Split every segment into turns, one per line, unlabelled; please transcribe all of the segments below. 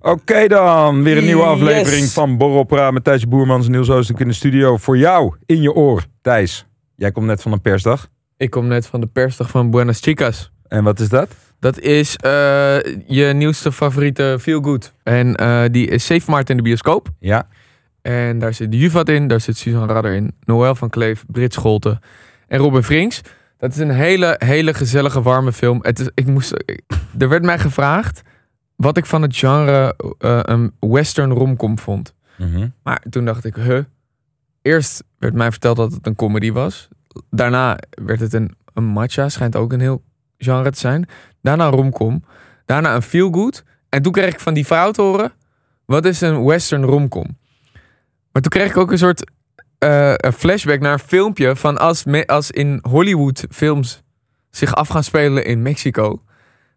Oké dan, weer een nieuwe
Yes.
aflevering van Borrelpraat met Thijs Boermans en Niels Oostink in de studio. Voor jou, in je oor. Thijs, jij komt net van een persdag.
Ik kom net van de persdag van Buenas Chicas.
En wat is dat?
Dat is eh, je nieuwste favoriete Feelgood. En eh, die is 7 maart in de bioscoop.
Ja,
En daar zit Juvat in, daar zit Suzanne Radder in, Noël van Kleef, Brit Scholte en Robin Frings. Dat is een hele, hele gezellige, warme film. Het is, ik moest, ik- er werd mij gevraagd wat ik van het genre eh, een western romcom vond.
Mhm.
Maar toen dacht ik, huh. Eerst werd mij verteld dat het een comedy was. Daarna werd het een, een matcha, schijnt ook een heel genre te zijn. Daarna een romcom. Daarna een feelgood. En toen kreeg ik van die vrouw te horen, wat is een western romcom? Maar toen kreeg ik ook een soort eh, een flashback naar een filmpje van als, me- als in Hollywood films zich af gaan spelen in Mexico.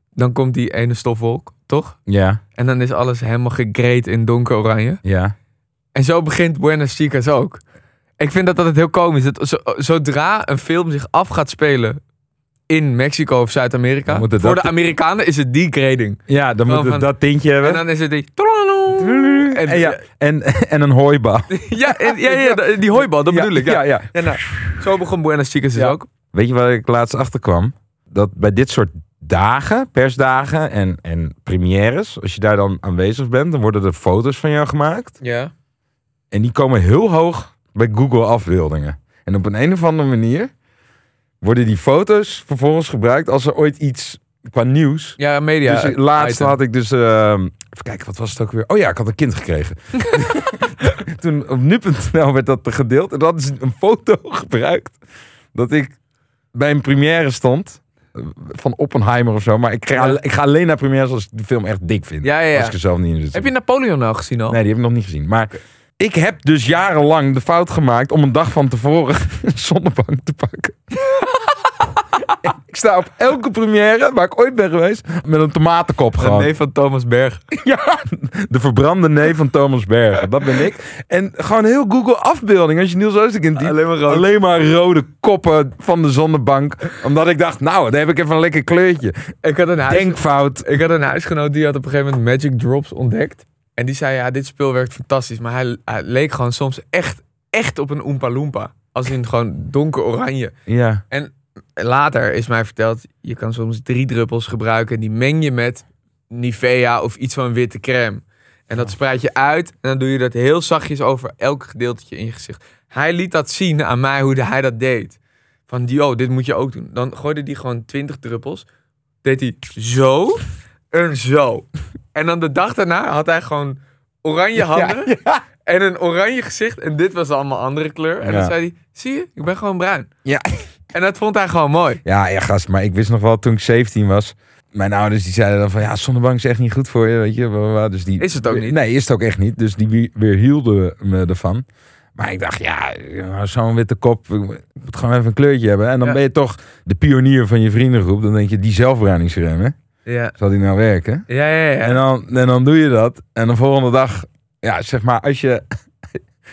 Dan komt die ene stofwolk, toch?
ja,
En dan is alles helemaal gegreed in donker oranje.
ja.
En zo begint Buenos Chicas ook. Ik vind dat altijd heel komisch. Dat zo- zodra een film zich af gaat spelen in Mexico of Zuid-Amerika,
Dan
voor
moet het
de
dat-
Amerikanen is het degrading.
Ja, dan moet
Gewoon
het
van-
dat tintje
En
hebben.
dan is het die...
En,
En,
ja, en, en een hooibal.
ja, en- ja, ja, die hooibal, dat bedoel ik. Ja.
Ja, ja.
Ja, nou, zo begon Buenos Chicas dus
Ja.
ook.
Weet je waar ik laatst achter kwam? Dat bij dit soort dagen, persdagen en, en premières, als je daar dan aanwezig bent, dan worden er foto's van jou gemaakt.
Ja.
En die komen heel hoog bij Google afbeeldingen. En op een, een of andere manier worden die foto's vervolgens gebruikt als er ooit iets qua nieuws.
Ja, media.
dus laatst
item.
had ik dus. ehm, even kijken, wat was het ook weer? Oh ja, ik had een kind gekregen. Toen op nu.nl werd dat gedeeld. En dat is een foto gebruikt. Dat ik bij een première stond. eh, Van Oppenheimer of zo. Maar ik ga,
Ja.
ik ga alleen naar premières als ik de film echt dik vind.
Ja, ja, ja.
Als ik er zelf niet in zit.
Heb je Napoleon nou gezien al?
Nee, die heb ik nog niet gezien. Maar ik heb dus jarenlang de fout gemaakt om een dag van tevoren een zonnebank te pakken. ik sta op elke première waar ik ooit ben geweest met een tomatenkop
De
gewoon.
neef van Thomas Berg.
Ja, de verbrande neef van Thomas Bergen. Dat ben ik. En gewoon heel Google afbeelding. Als je Niels Oostek in die...
Alleen maar rood.
Alleen maar rode koppen van de zonnebank. Omdat ik dacht, nou, daar heb ik even een lekker kleurtje.
Ik had een huis...
Denkfout.
Ik had een huisgenoot die had op een gegeven moment Magic Drops ontdekt. En die zei, ja, dit speel werkt fantastisch. Maar hij, hij leek gewoon soms echt, echt op een Oompa Loompa. Als in gewoon donker oranje.
Ja.
Later is mij verteld, je kan soms drie druppels gebruiken. En die meng je met Nivea of iets van witte crème. En dat spreid je uit. En dan doe je dat heel zachtjes over elk gedeeltje in je gezicht. Hij liet dat zien aan mij, hoe hij dat deed. Van, yo, dit moet je ook doen. Dan gooide hij gewoon twintig druppels. Deed hij zo en zo. En dan de dag daarna had hij gewoon oranje handen. En een oranje gezicht. En dit was allemaal andere kleur. En
Ja.
dan zei hij, zie je, ik ben gewoon bruin.
Ja.
En dat vond hij gewoon mooi.
Ja, ja, gast, maar ik wist nog wel toen ik 17 was. Mijn ouders die zeiden dan van ja, zonnebank is echt niet goed voor je, weet je. bla, bla, bla. Dus die,
Is het ook niet?
Nee, is het ook echt niet. Dus die wie- weerhielden me ervan. Maar ik dacht, ja, zo'n witte kop, ik moet gewoon even een kleurtje hebben. En dan
Ja.
ben je toch de pionier van je vriendengroep. Dan denk je, die zelfbruiningscreme, hè?
Ja,
zal die nou werken?
ja, ja. ja.
En, dan, en dan doe je dat. En de volgende dag, ja, zeg maar, als je,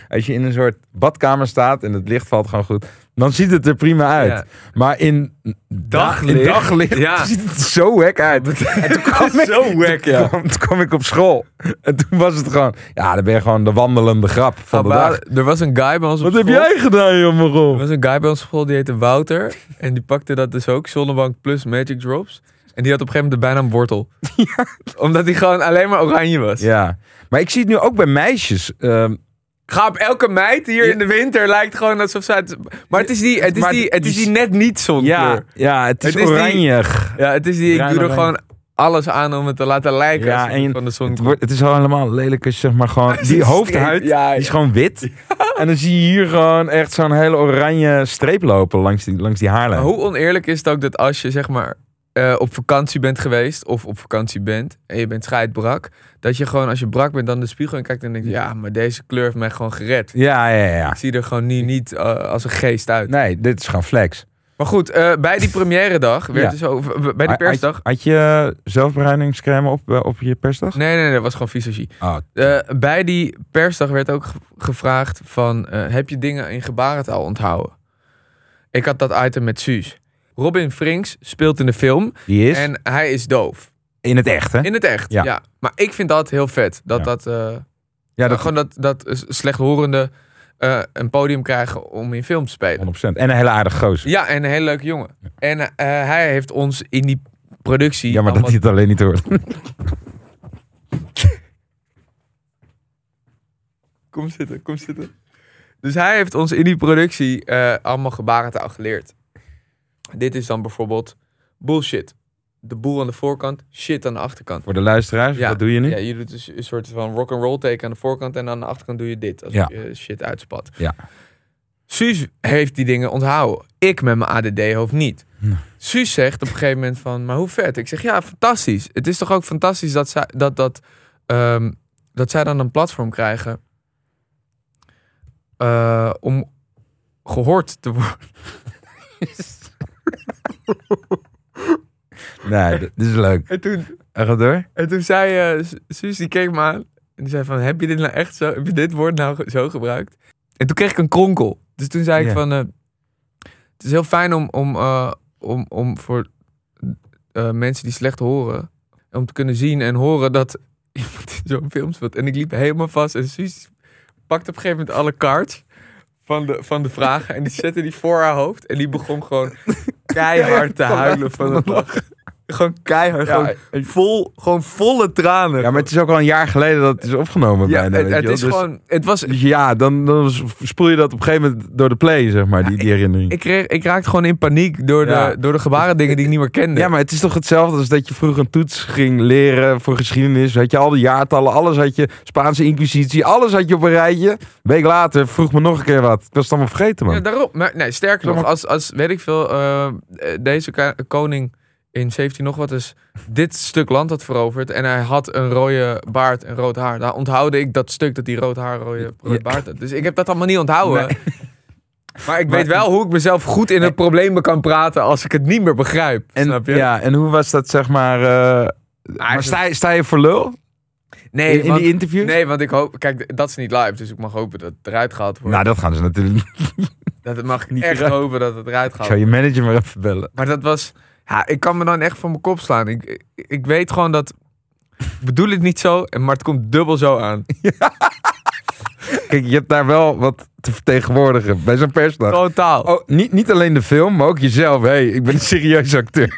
als je in een soort badkamer staat en het licht valt gewoon goed, dan ziet het er prima uit.
Ja.
Maar in
Daglicht.
in daglicht
Ja.
ziet het zo wek uit. En toen kwam ik,
Zo wack,
toen kwam, toen kwam ik op school. En toen was het gewoon, ja, dan ben je gewoon de wandelende grap van de
Nou,
dag.
Ba- Er was een guy bij ons op
Wat heb
school.
jij gedaan,
Er
jongen?
was een guy bij ons op school die heette Wouter. En die pakte dat dus ook, zonnebank plus magic drops. En die had op een gegeven moment de bijnaam Wortel. Omdat hij gewoon alleen maar oranje was.
Ja, maar ik zie het nu ook bij meisjes. ehm,
Ga op elke meid hier in de winter lijkt gewoon alsof zij... Het... Maar het is die, het is
Maar
die,
het
het is
is-
die net niet
ja,
zonkleur.
ja, het is,
Het is die-
oranje.
Ja, het is die, ik
Bruin
doe er
oranje.
gewoon alles aan om het te laten lijken
Ja,
alsof het
en
van de zon
Het, wordt, het is al helemaal lelijk als je, zeg maar gewoon...
is
Die
een
hoofdhuid
streep, ja,
die is gewoon wit. En dan zie je hier gewoon echt zo'n hele oranje streep lopen langs die, langs die haarlijn.
Maar hoe oneerlijk is het ook dat als je zeg maar eh, op vakantie bent geweest of op vakantie bent en je bent scheidbrak, dat je gewoon als je brak bent dan de spiegel in kijkt en denkt, ja, maar deze kleur heeft mij gewoon gered.
Ja, ja, ja.
Ik zie er gewoon nu niet eh, als een geest uit.
Nee, dit is gewoon flex.
Maar goed, eh, bij die première dag, werd
Ja.
er zo, v- v- bij die
Had-
persdag.
Had, had je zelfberuiningscreme op, eh, op je persdag?
Nee, nee, nee, dat was gewoon visagie.
Oh,
Eh, bij die persdag werd ook ge- gevraagd van... eh, heb je dingen in gebarentaal onthouden? Ik had dat item met Suus. Robin Frings speelt in de film
die is?
en hij is doof.
In het echt, hè?
In het echt,
Ja.
ja. Maar ik vind dat heel vet. Dat
Ja.
dat, eh,
Ja, dat
gewoon dat, dat s- slechthorenden eh, een podium krijgen om in film te spelen.
100%. En een hele aardige gozer.
Ja, en een hele leuke jongen. En eh, hij heeft ons in die productie...
Jammer dat hij
allemaal-
het alleen niet hoort.
Kom zitten, kom zitten. Dus hij heeft ons in die productie eh, allemaal gebarentaal geleerd. Dit is dan bijvoorbeeld bullshit. De boel aan de voorkant, shit aan de achterkant.
Voor de luisteraars,
Ja,
wat doe je nu?
Ja, je doet dus een soort van rock and roll teken aan de voorkant en aan de achterkant doe je dit als
Ja.
je eh, shit uitspat.
Ja.
Suus heeft die dingen onthouden. Ik met mijn ADD-hoofd niet. Suus zegt op een gegeven moment van, maar hoe vet? Ik zeg, ja, fantastisch. Het is toch ook fantastisch dat zij, dat, dat, ehm, dat zij dan een platform krijgen eh, om gehoord te worden.
Nee, d- dit is leuk.
En toen,
Hij gaat door.
en toen zei eh, Su- Suus, die keek me aan en die zei van, heb je dit nou echt zo, heb je dit woord nou ge- zo gebruikt? En toen kreeg ik een kronkel. Dus toen zei
Ja.
ik van, eh, het is heel fijn om, om, eh, om, om voor eh, mensen die slecht horen, om te kunnen zien en horen dat iemand in zo'n film speelt. En ik liep helemaal vast en Suus pakte op een gegeven moment alle cards van de, van de vragen en die zette die voor haar hoofd en die begon gewoon keihard te huilen van het lachen. Gewoon keihard,
Ja,
gewoon, vol, gewoon volle tranen.
Ja, maar het is ook al een jaar geleden dat het is opgenomen
Ja,
bijna.
het,
weet
het
je wel.
is
Dus-
gewoon, het was,
dus ja, dan, dan spoel je dat op een gegeven moment door de play, zeg maar, die, die herinnering.
ik, kreeg, ik raakte gewoon in paniek door,
Ja.
de, door de gebarendingen die ik niet meer kende.
Ja, maar het is toch hetzelfde als dat je vroeger een toets ging leren voor geschiedenis. Had je al die jaartallen, alles had je, Spaanse inquisitie, alles had je op een rijtje. Een week later vroeg me nog een keer wat. Ik was het allemaal vergeten, man.
Ja, daarom. Maar, nee, sterker
Zeg
nog,
maar-
als, als weet ik veel, eh, eh, deze ka- koning in 17 nog wat is dit stuk land had veroverd en hij had een rode baard en rood haar. Daar onthoudde ik dat stuk dat die rood haar, rode rood
Ja.
baard had. Dus ik heb dat allemaal niet onthouden. Maar ik
Maar-
weet wel hoe ik mezelf goed in het probleem kan praten als ik het niet meer begrijp.
en,
snap je? Ah,
Ja, en hoe was dat, zeg maar... eh, maar sta, je- sta je voor lul
nee,
in, in
want,
die interviews?
nee, want ik hoop, kijk, dat is niet live, dus ik mag hopen dat het eruit gehaald wordt.
Nou, dat gaan ze natuurlijk niet.
dat mag ik
niet
niet echt
eruit.
hopen dat het eruit
Ik
gaat.
zou je manager maar even bellen.
Maar dat was. Ja, ik kan me dan echt van mijn kop slaan. Ik, ik, ik weet gewoon dat. Ik bedoel het niet zo, en- maar het komt dubbel zo aan.
Kijk, je hebt daar wel wat te vertegenwoordigen bij zo'n persdag.
Totaal.
Oh, niet, niet alleen de film, maar ook jezelf. Hé, hey, ik ben een serieus acteur.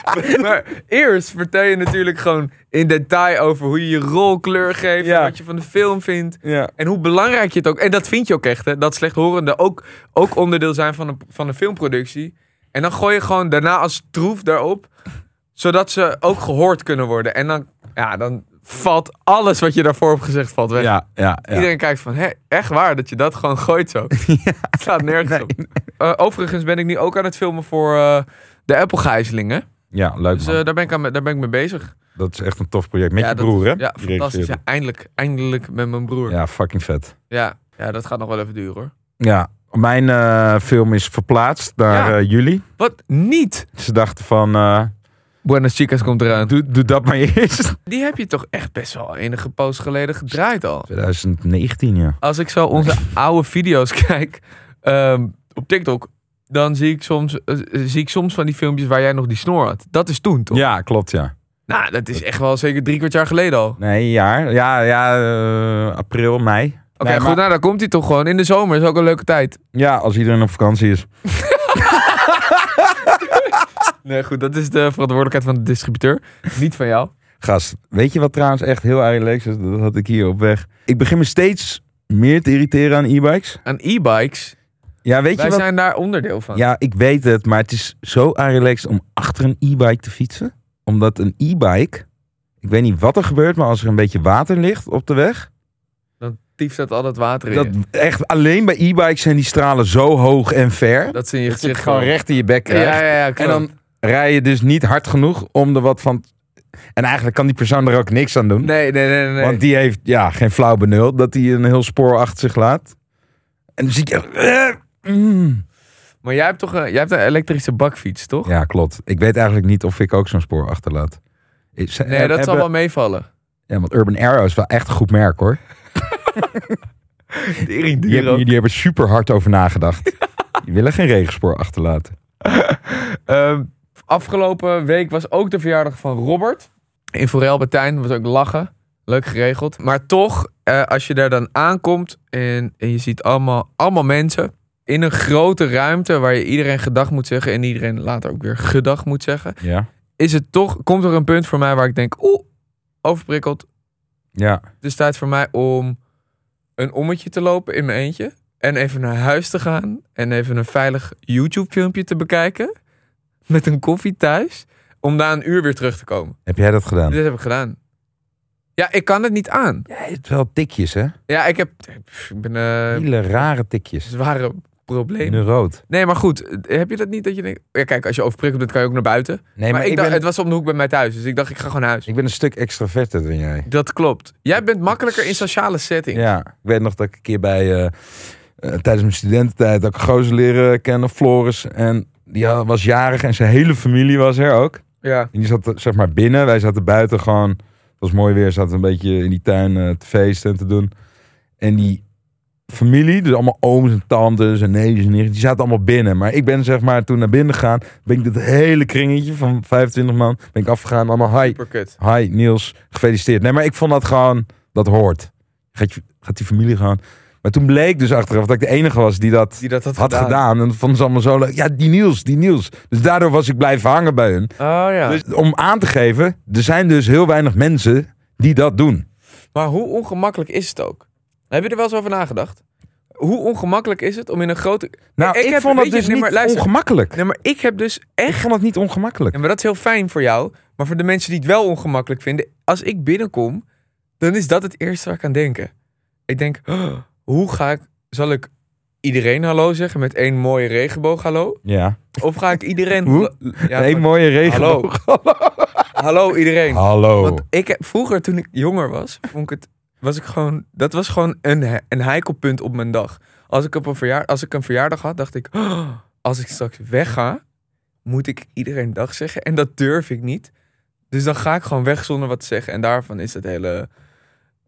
Maar eerst vertel je natuurlijk gewoon in detail over hoe je je rol kleur geeft.
Ja.
en Wat je van de film vindt.
Ja.
En hoe belangrijk je het ook. En dat vind je ook echt, hè? Dat slechthorenden ook, ook onderdeel zijn van een, van een filmproductie. En dan gooi je gewoon daarna als troef daarop. Zodat ze ook gehoord kunnen worden. En dan, ja, dan valt alles wat je daarvoor hebt gezegd valt weg.
Ja, ja, ja.
Iedereen kijkt van, hé, echt waar dat je dat gewoon gooit zo. Het slaat nergens op. Eh, overigens ben ik nu ook aan het filmen voor eh, de Apple-gijzelingen.
Ja, leuk
Dus
man.
eh, daar, ben ik aan, daar ben ik mee bezig.
Dat is echt een tof project. Met
ja,
je
dat-
broer, hè?
Ja,
Die
fantastisch.
regisseert
Ja, eindelijk, eindelijk met mijn broer.
het.
Ja.
Ja, fucking vet.
Ja, dat gaat nog wel even duren hoor.
Ja, mijn eh, film is verplaatst naar
Ja.
eh, juli.
Wat niet?
Ze dachten van, eh,
Buenas Chicas komt eraan.
doe, doe dat maar eerst.
Die heb je toch echt best wel enige poos geleden gedraaid al.
2019, ja.
Als ik zo onze oude video's kijk ehm, op TikTok, dan zie ik, soms, eh, zie ik soms van die filmpjes waar jij nog die snor had. Dat is toen toch?
Ja, klopt, ja.
Nou, dat is echt wel zeker drie kwart jaar geleden al. Oké,
Nee, jaar. Ja, ja eh, april, mei. Nee,
goed,
maar-
nou dan komt hij toch gewoon. In de zomer is ook een leuke tijd.
Ja, als iedereen op vakantie is.
Nee, goed, dat is de verantwoordelijkheid van de distributeur. Niet van jou.
Gast, weet je wat trouwens echt heel relaxed is? Dat had ik hier op weg. Ik begin me steeds meer te irriteren aan e-bikes.
Aan e-bikes,
Ja, weet
wij
je wat?
zijn daar onderdeel van.
Ja, ik weet het, maar het is zo relaxed om achter een e-bike te fietsen. Omdat een e-bike, ik weet niet wat er gebeurt, maar als er een beetje water ligt op de weg.
Dan tieft dat al dat water in
Dat
je.
echt, alleen bij e-bikes zijn die stralen zo hoog en ver.
Dat ze in je
Dat je het
gezicht
gewoon
komen.
recht in je bek krijgt.
Ja, ja, ja,
en
klopt.
dan rij je dus niet hard genoeg om er wat van... En eigenlijk kan die persoon er ook niks aan doen.
Nee, nee, nee, nee.
Want die heeft ja, geen flauw benul dat hij een heel spoor achter zich laat. En dan zie ik... eh, mm.
Maar jij hebt toch een, jij hebt een elektrische bakfiets, toch?
Ja, klopt. Ik weet eigenlijk niet of ik ook zo'n spoor achterlaat. Is-
nee, dat
hebben-
zal wel meevallen.
Ja, want Urban Arrow is wel echt een goed merk hoor. Die hebben, die hebben er super hard over nagedacht. Die willen geen regenspoor achterlaten.
Ehm, afgelopen week was ook de verjaardag van Robert. in Forel-Batuin was ook lachen. Leuk geregeld. Maar toch, eh, als je daar dan aankomt en, en je ziet allemaal, allemaal mensen in een grote ruimte waar je iedereen gedag moet zeggen en iedereen later ook weer gedag moet zeggen,
Ja.
is het toch, komt er een punt voor mij waar ik denk, oeh, overprikkeld.
Ja.
Dus tijd voor mij om een ommetje te lopen in mijn eentje en even naar huis te gaan en even een veilig YouTube filmpje te bekijken met een koffie thuis om na een uur weer terug te komen.
Heb jij dat gedaan?
Dit heb ik gedaan. Ja, ik kan het niet aan.
Jij hebt wel tikjes, hè?
Ja, ik heb. pff, Ik ben eh
Hele rare tikjes.
zware
In
problemen.
een rood.
Nee, maar goed. eh, Heb je dat niet dat je denkt. Ja, kijk, als je overprikkeld bent, kan je ook naar buiten. Maar,
Nee, maar,
ik
ik,
dacht,
ben,
het was om de hoek bij mij thuis. Dus ik dacht, ik ga gewoon naar huis.
ik ben een stuk extraverter dan jij.
Dat klopt. Jij bent makkelijker in sociale setting.
Ja, ik weet nog dat ik een keer bij, eh, eh, tijdens mijn studententijd, dat ik een gozer leren kennen, Floris. En die had- was jarig en zijn hele familie was er ook.
Ja.
En die zat eh, zeg maar binnen, wij zaten buiten gewoon. Het was mooi weer, zaten we een beetje in die tuin eh, te feesten en te doen. En die familie, dus allemaal ooms en tantes en neefjes en nichtjes, die zaten allemaal binnen. Maar ik ben zeg maar toen naar binnen gegaan, ben ik dat hele kringetje van 25 man, ben ik afgegaan, allemaal hi.
Superkut.
Hi Niels, gefeliciteerd. Nee, maar ik vond dat gewoon, dat hoort. Gaat, je, gaat die familie gewoon. Maar toen bleek dus achteraf dat ik de enige was die dat
Die dat had,
had gedaan. En dat vonden ze allemaal zo leuk. Ja, die Niels, die Niels. Dus daardoor was ik blijven hangen bij hun.
Oh ja.
Dus om aan te geven, er zijn dus heel weinig mensen die dat doen.
Maar hoe ongemakkelijk is het ook? Heb je er wel eens over nagedacht? Hoe ongemakkelijk is het om in een grote.
Nou,
Ik
ik,
heb-
vond dat
weet je,
dus
nee,
niet
maar luister.
ongemakkelijk.
Nee, maar ik heb dus echt.
Ik vond dat niet ongemakkelijk.
Ja, maar dat is heel fijn voor jou. Maar voor de mensen die het wel ongemakkelijk vinden, als ik binnenkom, dan is dat het eerste waar ik aan denken. Ik denk, "Oh, hoe ga ik, zal ik iedereen hallo zeggen met één mooie regenboog hallo?
Ja.
Of ga ik iedereen...
Hoe?
Ja,
Eén
maar-
mooie regel.
hallo iedereen.
Hallo.
Want ik heb, vroeger, toen ik jonger was, vond ik het, was ik gewoon, dat was gewoon een, he- een heikelpunt op mijn dag. Als ik, op een verjaar, als ik een verjaardag had, dacht ik, "Oh, als ik straks wegga, moet ik iedereen dag zeggen. En dat durf ik niet. Dus dan ga ik gewoon weg zonder wat te zeggen. En daarvan is, dat hele,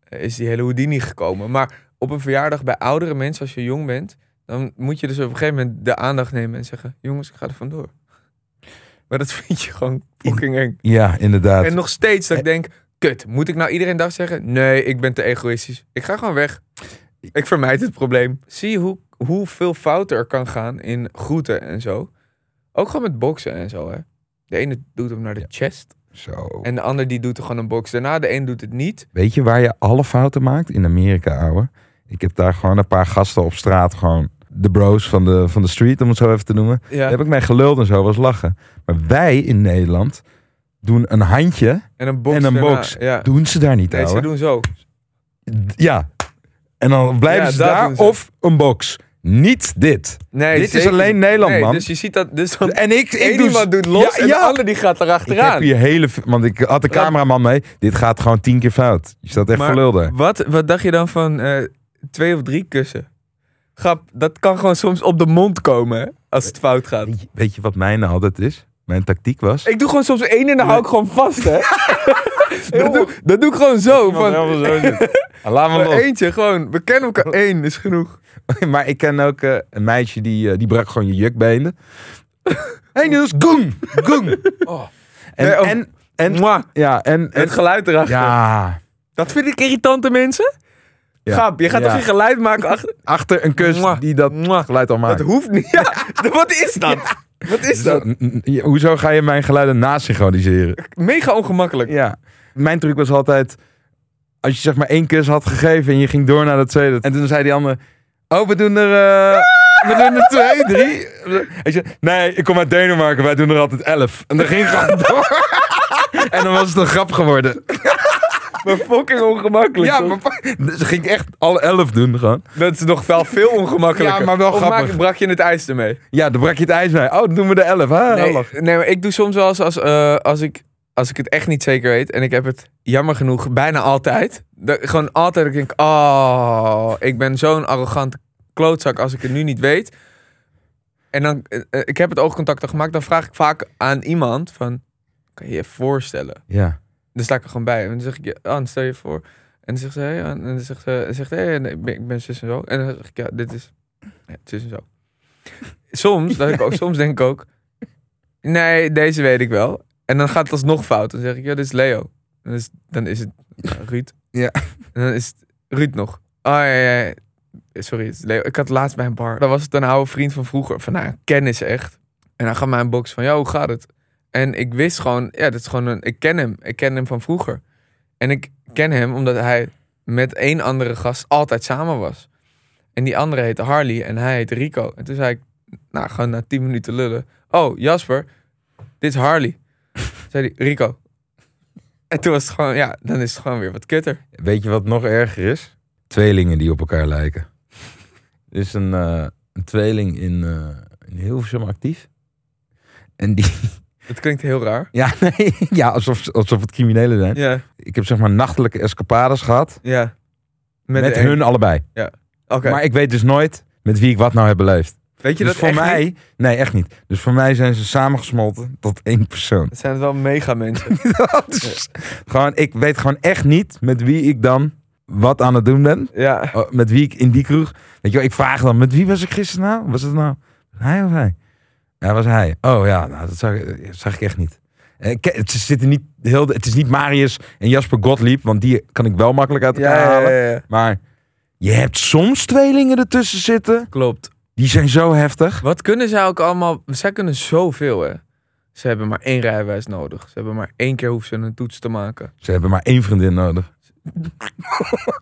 is die hele Houdini gekomen. Maar op een verjaardag bij oudere mensen, als je jong bent, dan moet je dus op een gegeven moment de aandacht nemen en zeggen, jongens, ik ga er vandoor. Maar dat vind je gewoon fucking eng.
Ja, inderdaad.
En nog steeds dat ik
Eh.
denk, kut, moet ik nou iedereen dag zeggen? Nee, ik ben te egoïstisch. Ik ga gewoon weg. Ik vermijd het probleem. Zie je hoe, hoeveel fouten er kan gaan in groeten en zo. Ook gewoon met boksen en zo, hè. De ene doet hem naar de chest
Zo.
en de ander die doet er gewoon een box. Daarna de een doet het niet.
Weet je waar je alle fouten maakt? In Amerika, ouwe. Ik heb daar gewoon een paar gasten op straat, gewoon de bros van de, van de street, om het zo even te noemen.
Ja.
Daar heb ik mij geluld en zo, was lachen. Maar wij in Nederland doen een handje,
En een box
En een
daarna.
box. nou,
Ja.
doen ze daar niet,
Nee,
ouwe.
ze doen zo.
Ja. En dan blijven
Ja,
ze
dat
daar
doen ze.
of een box. Niet dit.
Nee,
dit is
zeker
alleen
niet.
Nederland,
Nee,
man.
Dus je ziet dat... Dus dan
En ik,
één
ik doe...
iemand doet los
Ja,
en de
ja.
ander die gaat
Ik heb
erachteraan.
hier hele... Want ik had de
Ja.
cameraman mee. Dit gaat gewoon tien keer fout. Je staat echt
Maar-
voor lul daar.
Wat, wat dacht je dan van eh, twee of drie kussen? Grap, dat kan gewoon soms op de mond komen hè, als het fout gaat.
Weet je- Weet je wat mijn altijd is? Mijn tactiek was...
Ik doe gewoon soms één en dan hou ik gewoon vast, hè? dat, doe, dat doe ik gewoon zo. Van,
Ah, Laat me
van
los.
eentje gewoon. We kennen elkaar. Eén is genoeg.
Maar ik ken ook eh, een meisje die, eh, die brak gewoon je jukbeenden. hey Niels, goeng! Goeng! En,
Nee, oh.
en, en,
Mwah,
ja, en, en,
het geluid erachter.
ja,
Dat vind ik irritante mensen.
Ja.
Grap, je gaat
Ja.
toch geen geluid maken achter...
achter een kus
Mwah.
die dat
Mwah.
geluid al maakt.
Dat hoeft niet. Ja, wat is dat? Wat is
Zo,
dat?
n- n- je- hoezo ga je mijn geluiden nasynchroniseren?
Mega ongemakkelijk.
Ja. Mijn truc was altijd, als je zeg maar één kus had gegeven en je ging door naar de tweede. En toen zei die ander, oh we doen er, eh, we doen er twee, drie. En je, nee, ik kom uit Denemarken, wij doen er altijd elf. En dan ging ik gewoon door. En dan was het een grap geworden.
Maar fucking ongemakkelijk.
Ja,
toch?
maar pa- dus dan ging ik echt alle elf doen gewoon.
Dat is nog wel veel ongemakkelijker.
Ja, maar wel
Of
grappig.
maak- brak je het ijs ermee?
Ja, dan brak je het ijs mee. Oh, dan doen we de elf. hè?
Nee,
Lach.
nee, maar ik doe soms wel eens als, eh, als, ik, als ik het echt niet zeker weet. En ik heb het jammer genoeg bijna altijd. Dat, gewoon altijd. dat Ik denk, oh, ik ben zo'n arrogante klootzak als ik het nu niet weet. En dan, eh, eh, ik heb het oogcontact al gemaakt. Dan vraag ik vaak aan iemand van, kan je je voorstellen?
Ja.
Dan sta ik er gewoon bij. En dan zeg ik, ja, Anne, stel je voor. En dan zegt ze, hey, Anne. En dan zegt ze, zegt, hey, nee, ik, ben, ik ben zus en zo. En dan zeg ik, ja, dit is ja, zus en zo. Soms, dat ik ook, soms denk ik ook, nee, deze weet ik wel. En dan gaat het alsnog fout. Dan zeg ik, ja, dit is Leo. Dan is, dan is het nou, Ruud.
Ja.
En dan is het Ruud nog. Oh ja, ja, ja. Sorry, het is Leo. ik had laatst bij een bar. Daar was het een oude vriend van vroeger. Van nou, kennis echt. En hij gaf mij een box van, ja, hoe gaat het? En ik wist gewoon, ja, dat is gewoon een, ik ken hem. Ik ken hem van vroeger. En ik ken hem omdat hij met één andere gast altijd samen was. En die andere heette Harley en hij heette Rico. En toen zei ik, nou, gewoon na tien minuten lullen. Oh, Jasper, dit is Harley. zei hij, Rico. En toen was het gewoon, ja, dan is het gewoon weer wat kutter.
Weet je wat nog erger is? Tweelingen die op elkaar lijken. Er is een, eh, een tweeling in, eh in Hilversum actief. En die...
Het klinkt heel raar.
Ja, nee, ja alsof, alsof het criminelen zijn.
Ja,
Ik heb zeg maar nachtelijke escapades gehad.
ja.
Met,
de-
hun allebei.
Oké.
Maar ik weet dus nooit met wie ik wat nou heb beleefd.
Weet je
dus
dat
voor
echt
mij...
niet?
Nee, echt niet. Dus voor mij zijn ze samengesmolten tot één persoon.
Dat zijn wel mega mensen.
Dat
dus-
is- gewoon, ik weet gewoon echt niet met wie ik dan wat aan het doen ben.
ja.
Oh, met wie ik in die kroeg. Weet je wel, ik vraag dan, met wie was ik gisteren nou? Was het nou hij of hij? Ja, was hij. Oh ja, nou, dat zag, ik- dat zag ik echt niet. Eh, ik ken- Het, is- zitten niet heel, de- het is niet Marius en Jasper Gottlieb, want die kan ik wel makkelijk uit elkaar
Ja, ja,
halen.
ja, ja.
Maar je hebt soms tweelingen ertussen zitten.
Klopt.
Die zijn zo heftig.
Wat kunnen zij ook allemaal? Zij kunnen zoveel, hè? Ze hebben maar één rijbewijs nodig. Ze hebben maar één keer hoeven ze een toets te maken.
Ze hebben maar één vriendin nodig.
Oh,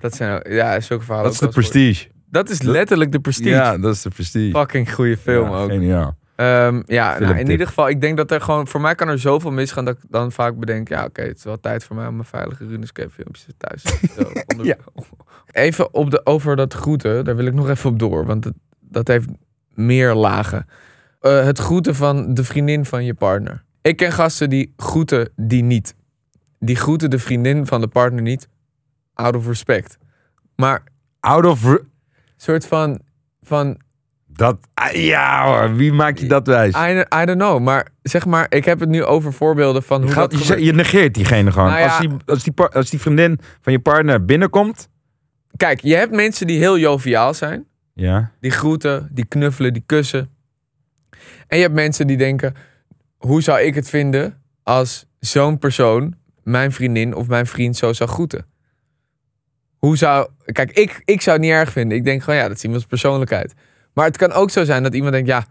Dat zijn, ook- ja, zulke verhalen.
Dat is de
ook wel eens gehoord.
prestige.
Dat is
Dat-
letterlijk de prestige.
Ja, dat is de prestige.
Fucking goede film
Ja,
ook.
Geniaal.
Ehm, ja, nou, in
Filmtip.
ieder geval, ik denk dat er gewoon, voor mij kan er zoveel misgaan dat ik dan vaak bedenk, ja oké, het is wel tijd voor mij om mijn veilige Runescape filmpjes thuis te zo onder-
Ja.
Even op de, over dat groeten, daar wil ik nog even op door, want het- dat heeft meer lagen. Eh, het groeten van de vriendin van je partner. Ik ken gasten die groeten die niet. Die groeten de vriendin van de partner niet, out of respect. Maar
Out of... re-
soort van, van
Dat, ah, ja hoor, wie maakt je dat wijs?
I, I don't know, maar zeg maar, ik heb het nu over voorbeelden van hoe
Je, gaat-
dat
je,
gebeurt.
je negeert diegene gewoon.
Nou ja.
als, die, als, die, par- als die vriendin van je partner binnenkomt.
Kijk, je hebt mensen die heel joviaal zijn.
Ja.
Die groeten, die knuffelen, die kussen. En je hebt mensen die denken, hoe zou ik het vinden als zo'n persoon mijn vriendin of mijn vriend zo zou groeten? Hoe zou... Kijk, ik, ik zou het niet erg vinden. Ik denk gewoon, ja, dat is iemands persoonlijkheid. Maar het kan ook zo zijn dat iemand denkt, ja,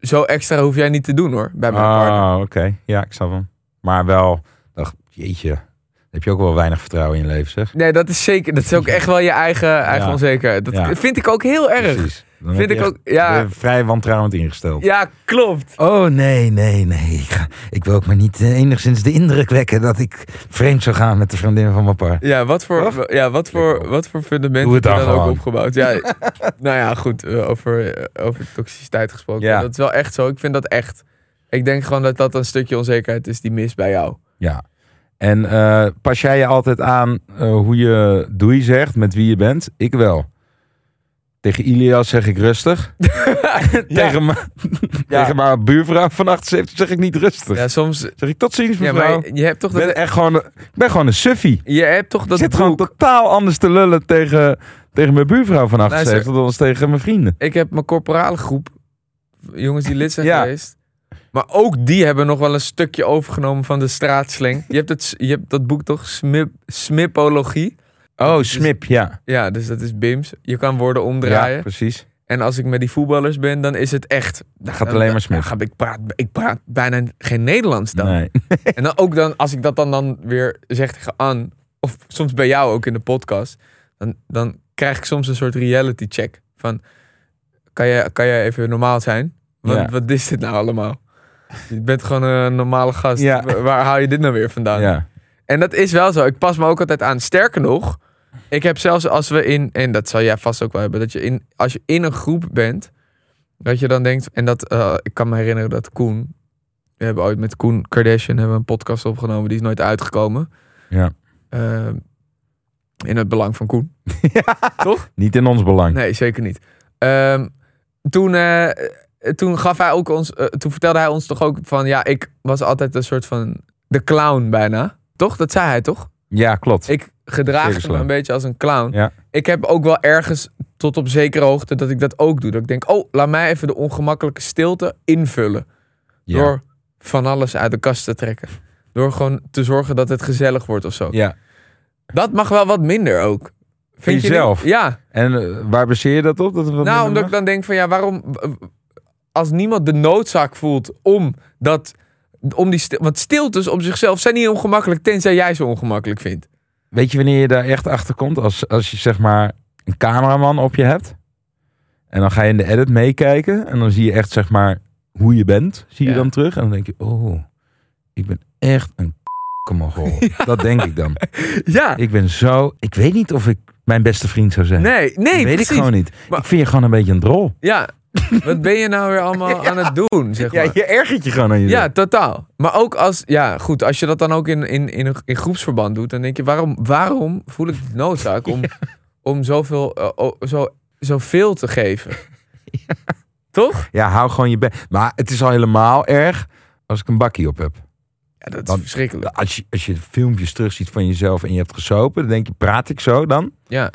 zo extra hoef jij niet te doen hoor, bij mijn partner.
Oh, oké. Ja, ik snap hem. Maar wel, dacht, jeetje. dan Heb je ook wel weinig vertrouwen in je leven, zeg?
Nee, dat is zeker. Dat is ook echt wel je eigen, eigen
Ja.
onzekerheid. Dat
Ja.
vind ik ook heel erg.
Precies. Dan
Vind
ben
ik
je echt-
ook. Ja,
ben je vrij wantrouwend ingesteld.
ja, klopt.
Oh, nee, nee, nee. Ik, ga- ik wil ook maar niet eh, enigszins de indruk wekken dat ik vreemd zou gaan met de vriendin van mijn partner.
Ja, wat voor,
Toch?
ja, wat voor, wat voor fundament
Doe
heb
het dan
je dan ook
gewoon.
opgebouwd? Ja, nou ja, goed. eh, over, eh, over toxiciteit gesproken.
Ja.
Dat is wel echt zo. Ik vind dat echt. Ik denk gewoon dat dat een stukje onzekerheid is die mist bij jou.
Ja. En eh, pas jij je altijd aan eh, hoe je doei zegt, met wie je bent? Ik wel. Tegen Ilias zeg ik rustig. Tegen, mijn,
Ja.
tegen mijn buurvrouw van 78 zeg ik niet rustig.
Ja, soms.
Zeg ik tot ziens
Ja,
mevrouw.
maar je hebt toch
ik, ben
dat.
echt gewoon, ik ben gewoon een suffie.
Je hebt toch
Ik
dat
zit gewoon
boek.
totaal anders te lullen tegen, tegen mijn buurvrouw van 78 dan als tegen mijn vrienden.
Ik heb mijn corporale groep. Jongens die lid zijn
Ja.
geweest. Maar ook die hebben nog wel een stukje overgenomen van de straatsling. Je hebt, het, je hebt dat boek toch? Smip, smipologie.
Oh,
Dus-
Smip, ja.
Ja, dus dat is BIMS. Je kan woorden
Ja,
omdraaien.
precies.
En als ik met die voetballers ben, dan is het echt. Dan
gaat alleen maar smip.
dan ga ik, praat, ik praat bijna geen Nederlands dan.
Nee.
En dan ook dan, als ik dat dan, dan weer zeg tegen An, of soms bij jou ook in de podcast, dan, dan krijg ik soms een soort reality check. Van, kan jij, kan jij even normaal zijn? Wat,
Ja.
wat is dit nou allemaal? Je bent gewoon een normale gast.
Ja.
Wa- Waar haal je dit nou weer vandaan?
Ja.
En dat is wel zo. Ik pas me ook altijd aan. Sterker nog, ik heb zelfs als we in, en dat zal jij vast ook wel hebben, dat je in, als je in een groep bent, dat je dan denkt, en dat, eh, ik kan me herinneren dat Koen, we hebben ooit met Koen Kardashian hebben we een podcast opgenomen, die is nooit uitgekomen.
Ja.
Ehm, in het belang van Koen.
Niet in ons belang.
Nee, zeker niet. Ehm, toen, eh, toen gaf hij ook ons, eh, toen vertelde hij ons toch ook van, ja, ik was altijd een soort van de clown bijna. Toch? Dat zei hij toch?
Ja, klopt.
Ik gedraag
Zeker
me een beetje als een clown.
Ja.
Ik heb ook wel ergens tot op zekere hoogte dat ik dat ook doe. Dat ik denk, oh, laat mij even de ongemakkelijke stilte invullen.
Ja.
Door van alles uit de kast te trekken. Door gewoon te zorgen dat het gezellig wordt of zo.
Ja.
Dat mag wel wat minder ook. Vind je niet?
jezelf?
Ja.
En eh, waar baseer je dat op? Dat het wat
nou,
minder
omdat ik
mag?
dan denk van ja, waarom... Als niemand de noodzaak voelt om dat... Om die stil, want stiltes om zichzelf zijn niet ongemakkelijk, tenzij jij ze ongemakkelijk vindt.
Weet je wanneer je daar echt achter komt? Als, als je zeg maar een cameraman op je hebt. En dan ga je in de edit meekijken. En dan zie je echt zeg maar hoe je bent. Zie je
Ja.
dan terug. En dan denk je, oh, ik ben echt een Mongool. Dat denk ik dan.
Ja,
Ik ben zo. Ik weet niet of ik mijn beste vriend zou zijn.
nee, nee,
weet
precies.
ik gewoon niet.
Maar-
ik vind je gewoon een beetje een drol.
Ja, wat ben je nou weer allemaal aan het doen, zeg maar.
je ergert je gewoon aan je.
Ja, totaal. Maar ook als, ja, goed, als je dat dan ook in, in, in, in groepsverband doet, dan denk je, waarom, waarom voel ik de noodzaak om, om zoveel, eh, o- zo, zoveel te geven? Toch?
Ja, hou gewoon je bek. Maar het is al helemaal erg als ik een bakkie op heb.
Ja, dat is
Dan-
verschrikkelijk.
Als je, als je filmpjes terugziet van jezelf en je hebt gesopen, dan denk je, praat ik zo dan?
Ja,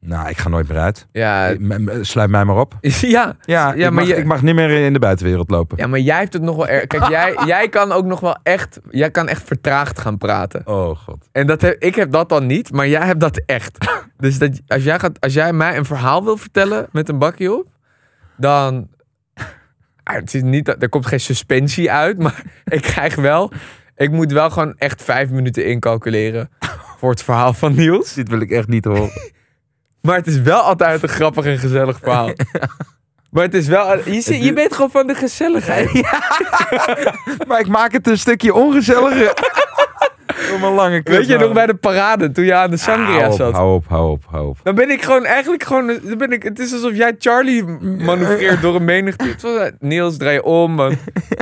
Nou, ik ga nooit meer uit.
ja,
Eh, m- m- Sluit mij maar op.
ja.
Ja,
Ja,
ik,
maar
mag,
je-
ik mag niet meer in de buitenwereld lopen.
ja, maar jij hebt het nog wel erg. Kijk, jij, jij kan ook nog wel echt, jij kan echt vertraagd gaan praten.
Oh god.
En dat heb, ik heb dat dan niet, maar jij hebt dat echt. Dus dat, als, jij gaat, als jij mij een verhaal wil vertellen met een bakje op, dan. Ah, het is niet, dat- er komt geen suspensie uit, maar ik krijg wel. Ik moet wel gewoon echt vijf minuten incalculeren voor het verhaal van Niels.
Dit wil ik echt niet horen.
Maar het is wel altijd een grappig en gezellig verhaal. Maar het is wel. Je, zit- je bent gewoon van de gezelligheid.
maar ik maak het een stukje ongezelliger. Door mijn lange kut,
Weet je
man.
nog bij de parade toen je aan de
hou
sangria
op,
zat?
Hou op, hou op, hou op.
Dan ben ik gewoon eigenlijk gewoon. Dan ben ik, het is alsof jij Charlie m- manoeuvreert door een menigte. Het was, eh, Niels, draai je om. man.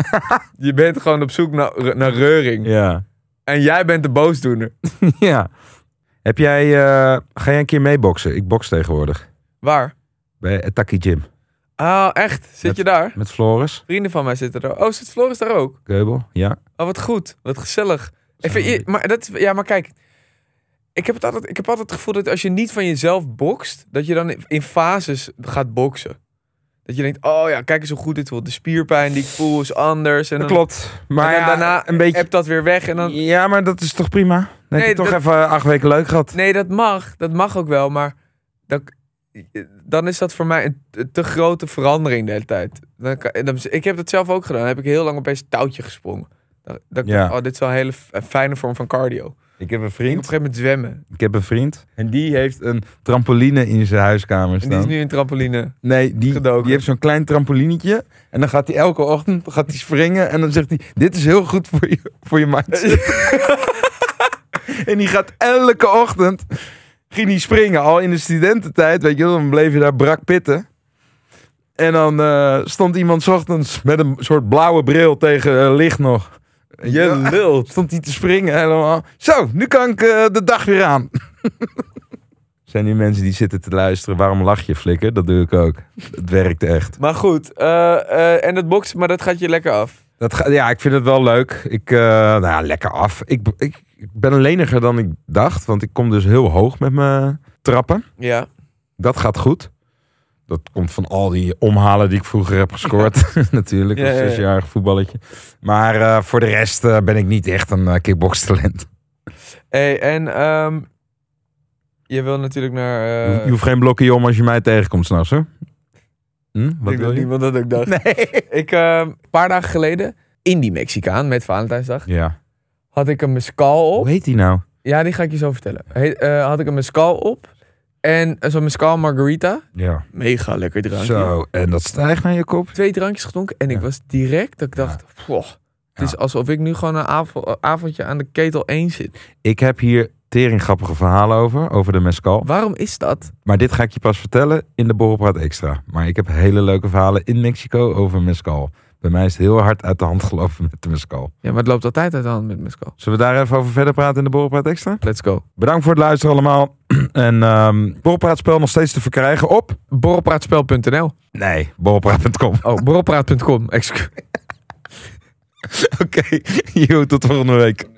Je bent gewoon op zoek naar, naar reuring.
Ja.
En jij bent de boosdoener.
Ja. Heb jij, eh, ga jij een keer meeboksen? Ik boks tegenwoordig.
Waar?
Bij Attackie Gym.
Oh, echt? Zit
Met-
je daar?
Met Floris,
Vrienden van mij zitten daar. Oh, zit Floris daar ook?
Keubel. Ja.
Oh, wat goed. Wat gezellig. Even, je- maar dat, is- ja, maar kijk. Ik heb, het altijd, ik heb altijd het gevoel dat als je niet van jezelf bokst, dat je dan in fases gaat boksen. Dat je denkt, oh ja, kijk eens hoe goed dit wordt. De spierpijn die ik voel is anders. En
Dat
dan-
klopt.
Maar
Maar ja,
en
eh,
dan daarna
een beetje.
hebt dat weer weg. En dan,
Ja, maar dat is toch prima? Dan heb
Nee,
je toch
dat-
even acht weken leuk gehad.
nee, dat mag. Dat mag ook wel. Maar dan, dan is dat voor mij een te- te grote verandering de hele tijd. Dan, kan- dan, ik heb dat zelf ook gedaan. Dan heb ik heel lang opeens touwtje gesprongen. Dan, dan,
Ja.
oh, dit is wel een hele f- een fijne vorm van cardio. Ik
Ik heb een
ging op een
vriend.
gegeven moment zwemmen.
Ik heb een vriend. En die heeft een trampoline in zijn huiskamer
En die is
staan.
nu een trampoline.
Nee, die,
Gedoken.
die heeft zo'n klein trampolinetje. En dan gaat hij elke ochtend gaat hij springen. En dan zegt hij, dit is heel goed voor je, voor je mindset. en die gaat elke ochtend ging die springen. Al in de studententijd, weet je wel. Dan bleef je daar brak pitten. En dan eh, stond iemand 's ochtends met een soort blauwe bril tegen eh, licht nog. Weet je wel?
lult.
Stond hij te springen helemaal. Zo, nu kan ik eh, de dag weer aan. Zijn nu mensen die zitten te luisteren. Waarom lach je, flikker? Dat doe ik ook. Het werkt echt.
Maar goed, eh, eh, en dat boksen, maar dat gaat je lekker af.
Dat ga, ja, ik vind het wel leuk. Ik, eh, nou ja, lekker af. Ik, ik, ik ben leniger dan ik dacht. Want ik kom dus heel hoog met mijn trappen.
Ja.
Dat gaat goed. Dat komt van al die omhalen die ik vroeger heb gescoord. Natuurlijk,
Ja,
als
ja, ja.
zesjarig voetballetje. Maar eh, voor de rest eh, ben ik niet echt een kickbox kickboxtalent.
Hey, en ehm, je wil natuurlijk naar...
Je-
eh,
je hoeft geen blokje om als je mij tegenkomt s'nachts, hoor. Hm? Wat wil
ik denk dat
je?
niemand dat ook dacht. Ik, eh, een paar dagen geleden, in die Mexicaan met Valentijnsdag,
Ja.
had ik een mescal op.
Hoe heet die nou?
Ja, die ga ik je zo vertellen. Heet, eh, had ik een mescal op en eh, zo'n mescal margarita.
Ja.
Mega lekker drankje.
Zo, en dat stijgt naar je kop.
Twee drankjes gedronken en ik
Ja.
was direct dat ik
Ja.
dacht, "Poh, het
Ja.
is alsof ik nu gewoon een avo- een avondje aan de ketel 1 zit.
Ik heb hier tering grappige verhalen over, over de mescal.
Waarom is dat?
Maar dit ga ik je pas vertellen in de Borrelpraat Extra. Maar ik heb hele leuke verhalen in Mexico over mescal. Bij mij is het heel hard uit de hand gelopen met de mescal.
Ja, maar het loopt altijd uit de hand met mescal.
Zullen we daar even over verder praten in de Borrelpraat Extra?
Let's go.
Bedankt voor het luisteren allemaal. En ehm Borrelpraatspel nog steeds te verkrijgen op...
Borrelpraatspel.nl
Nee, borrelpraat.com.
Oh, borrelpraat.com. Excuus.
Oké, yo, tot volgende week.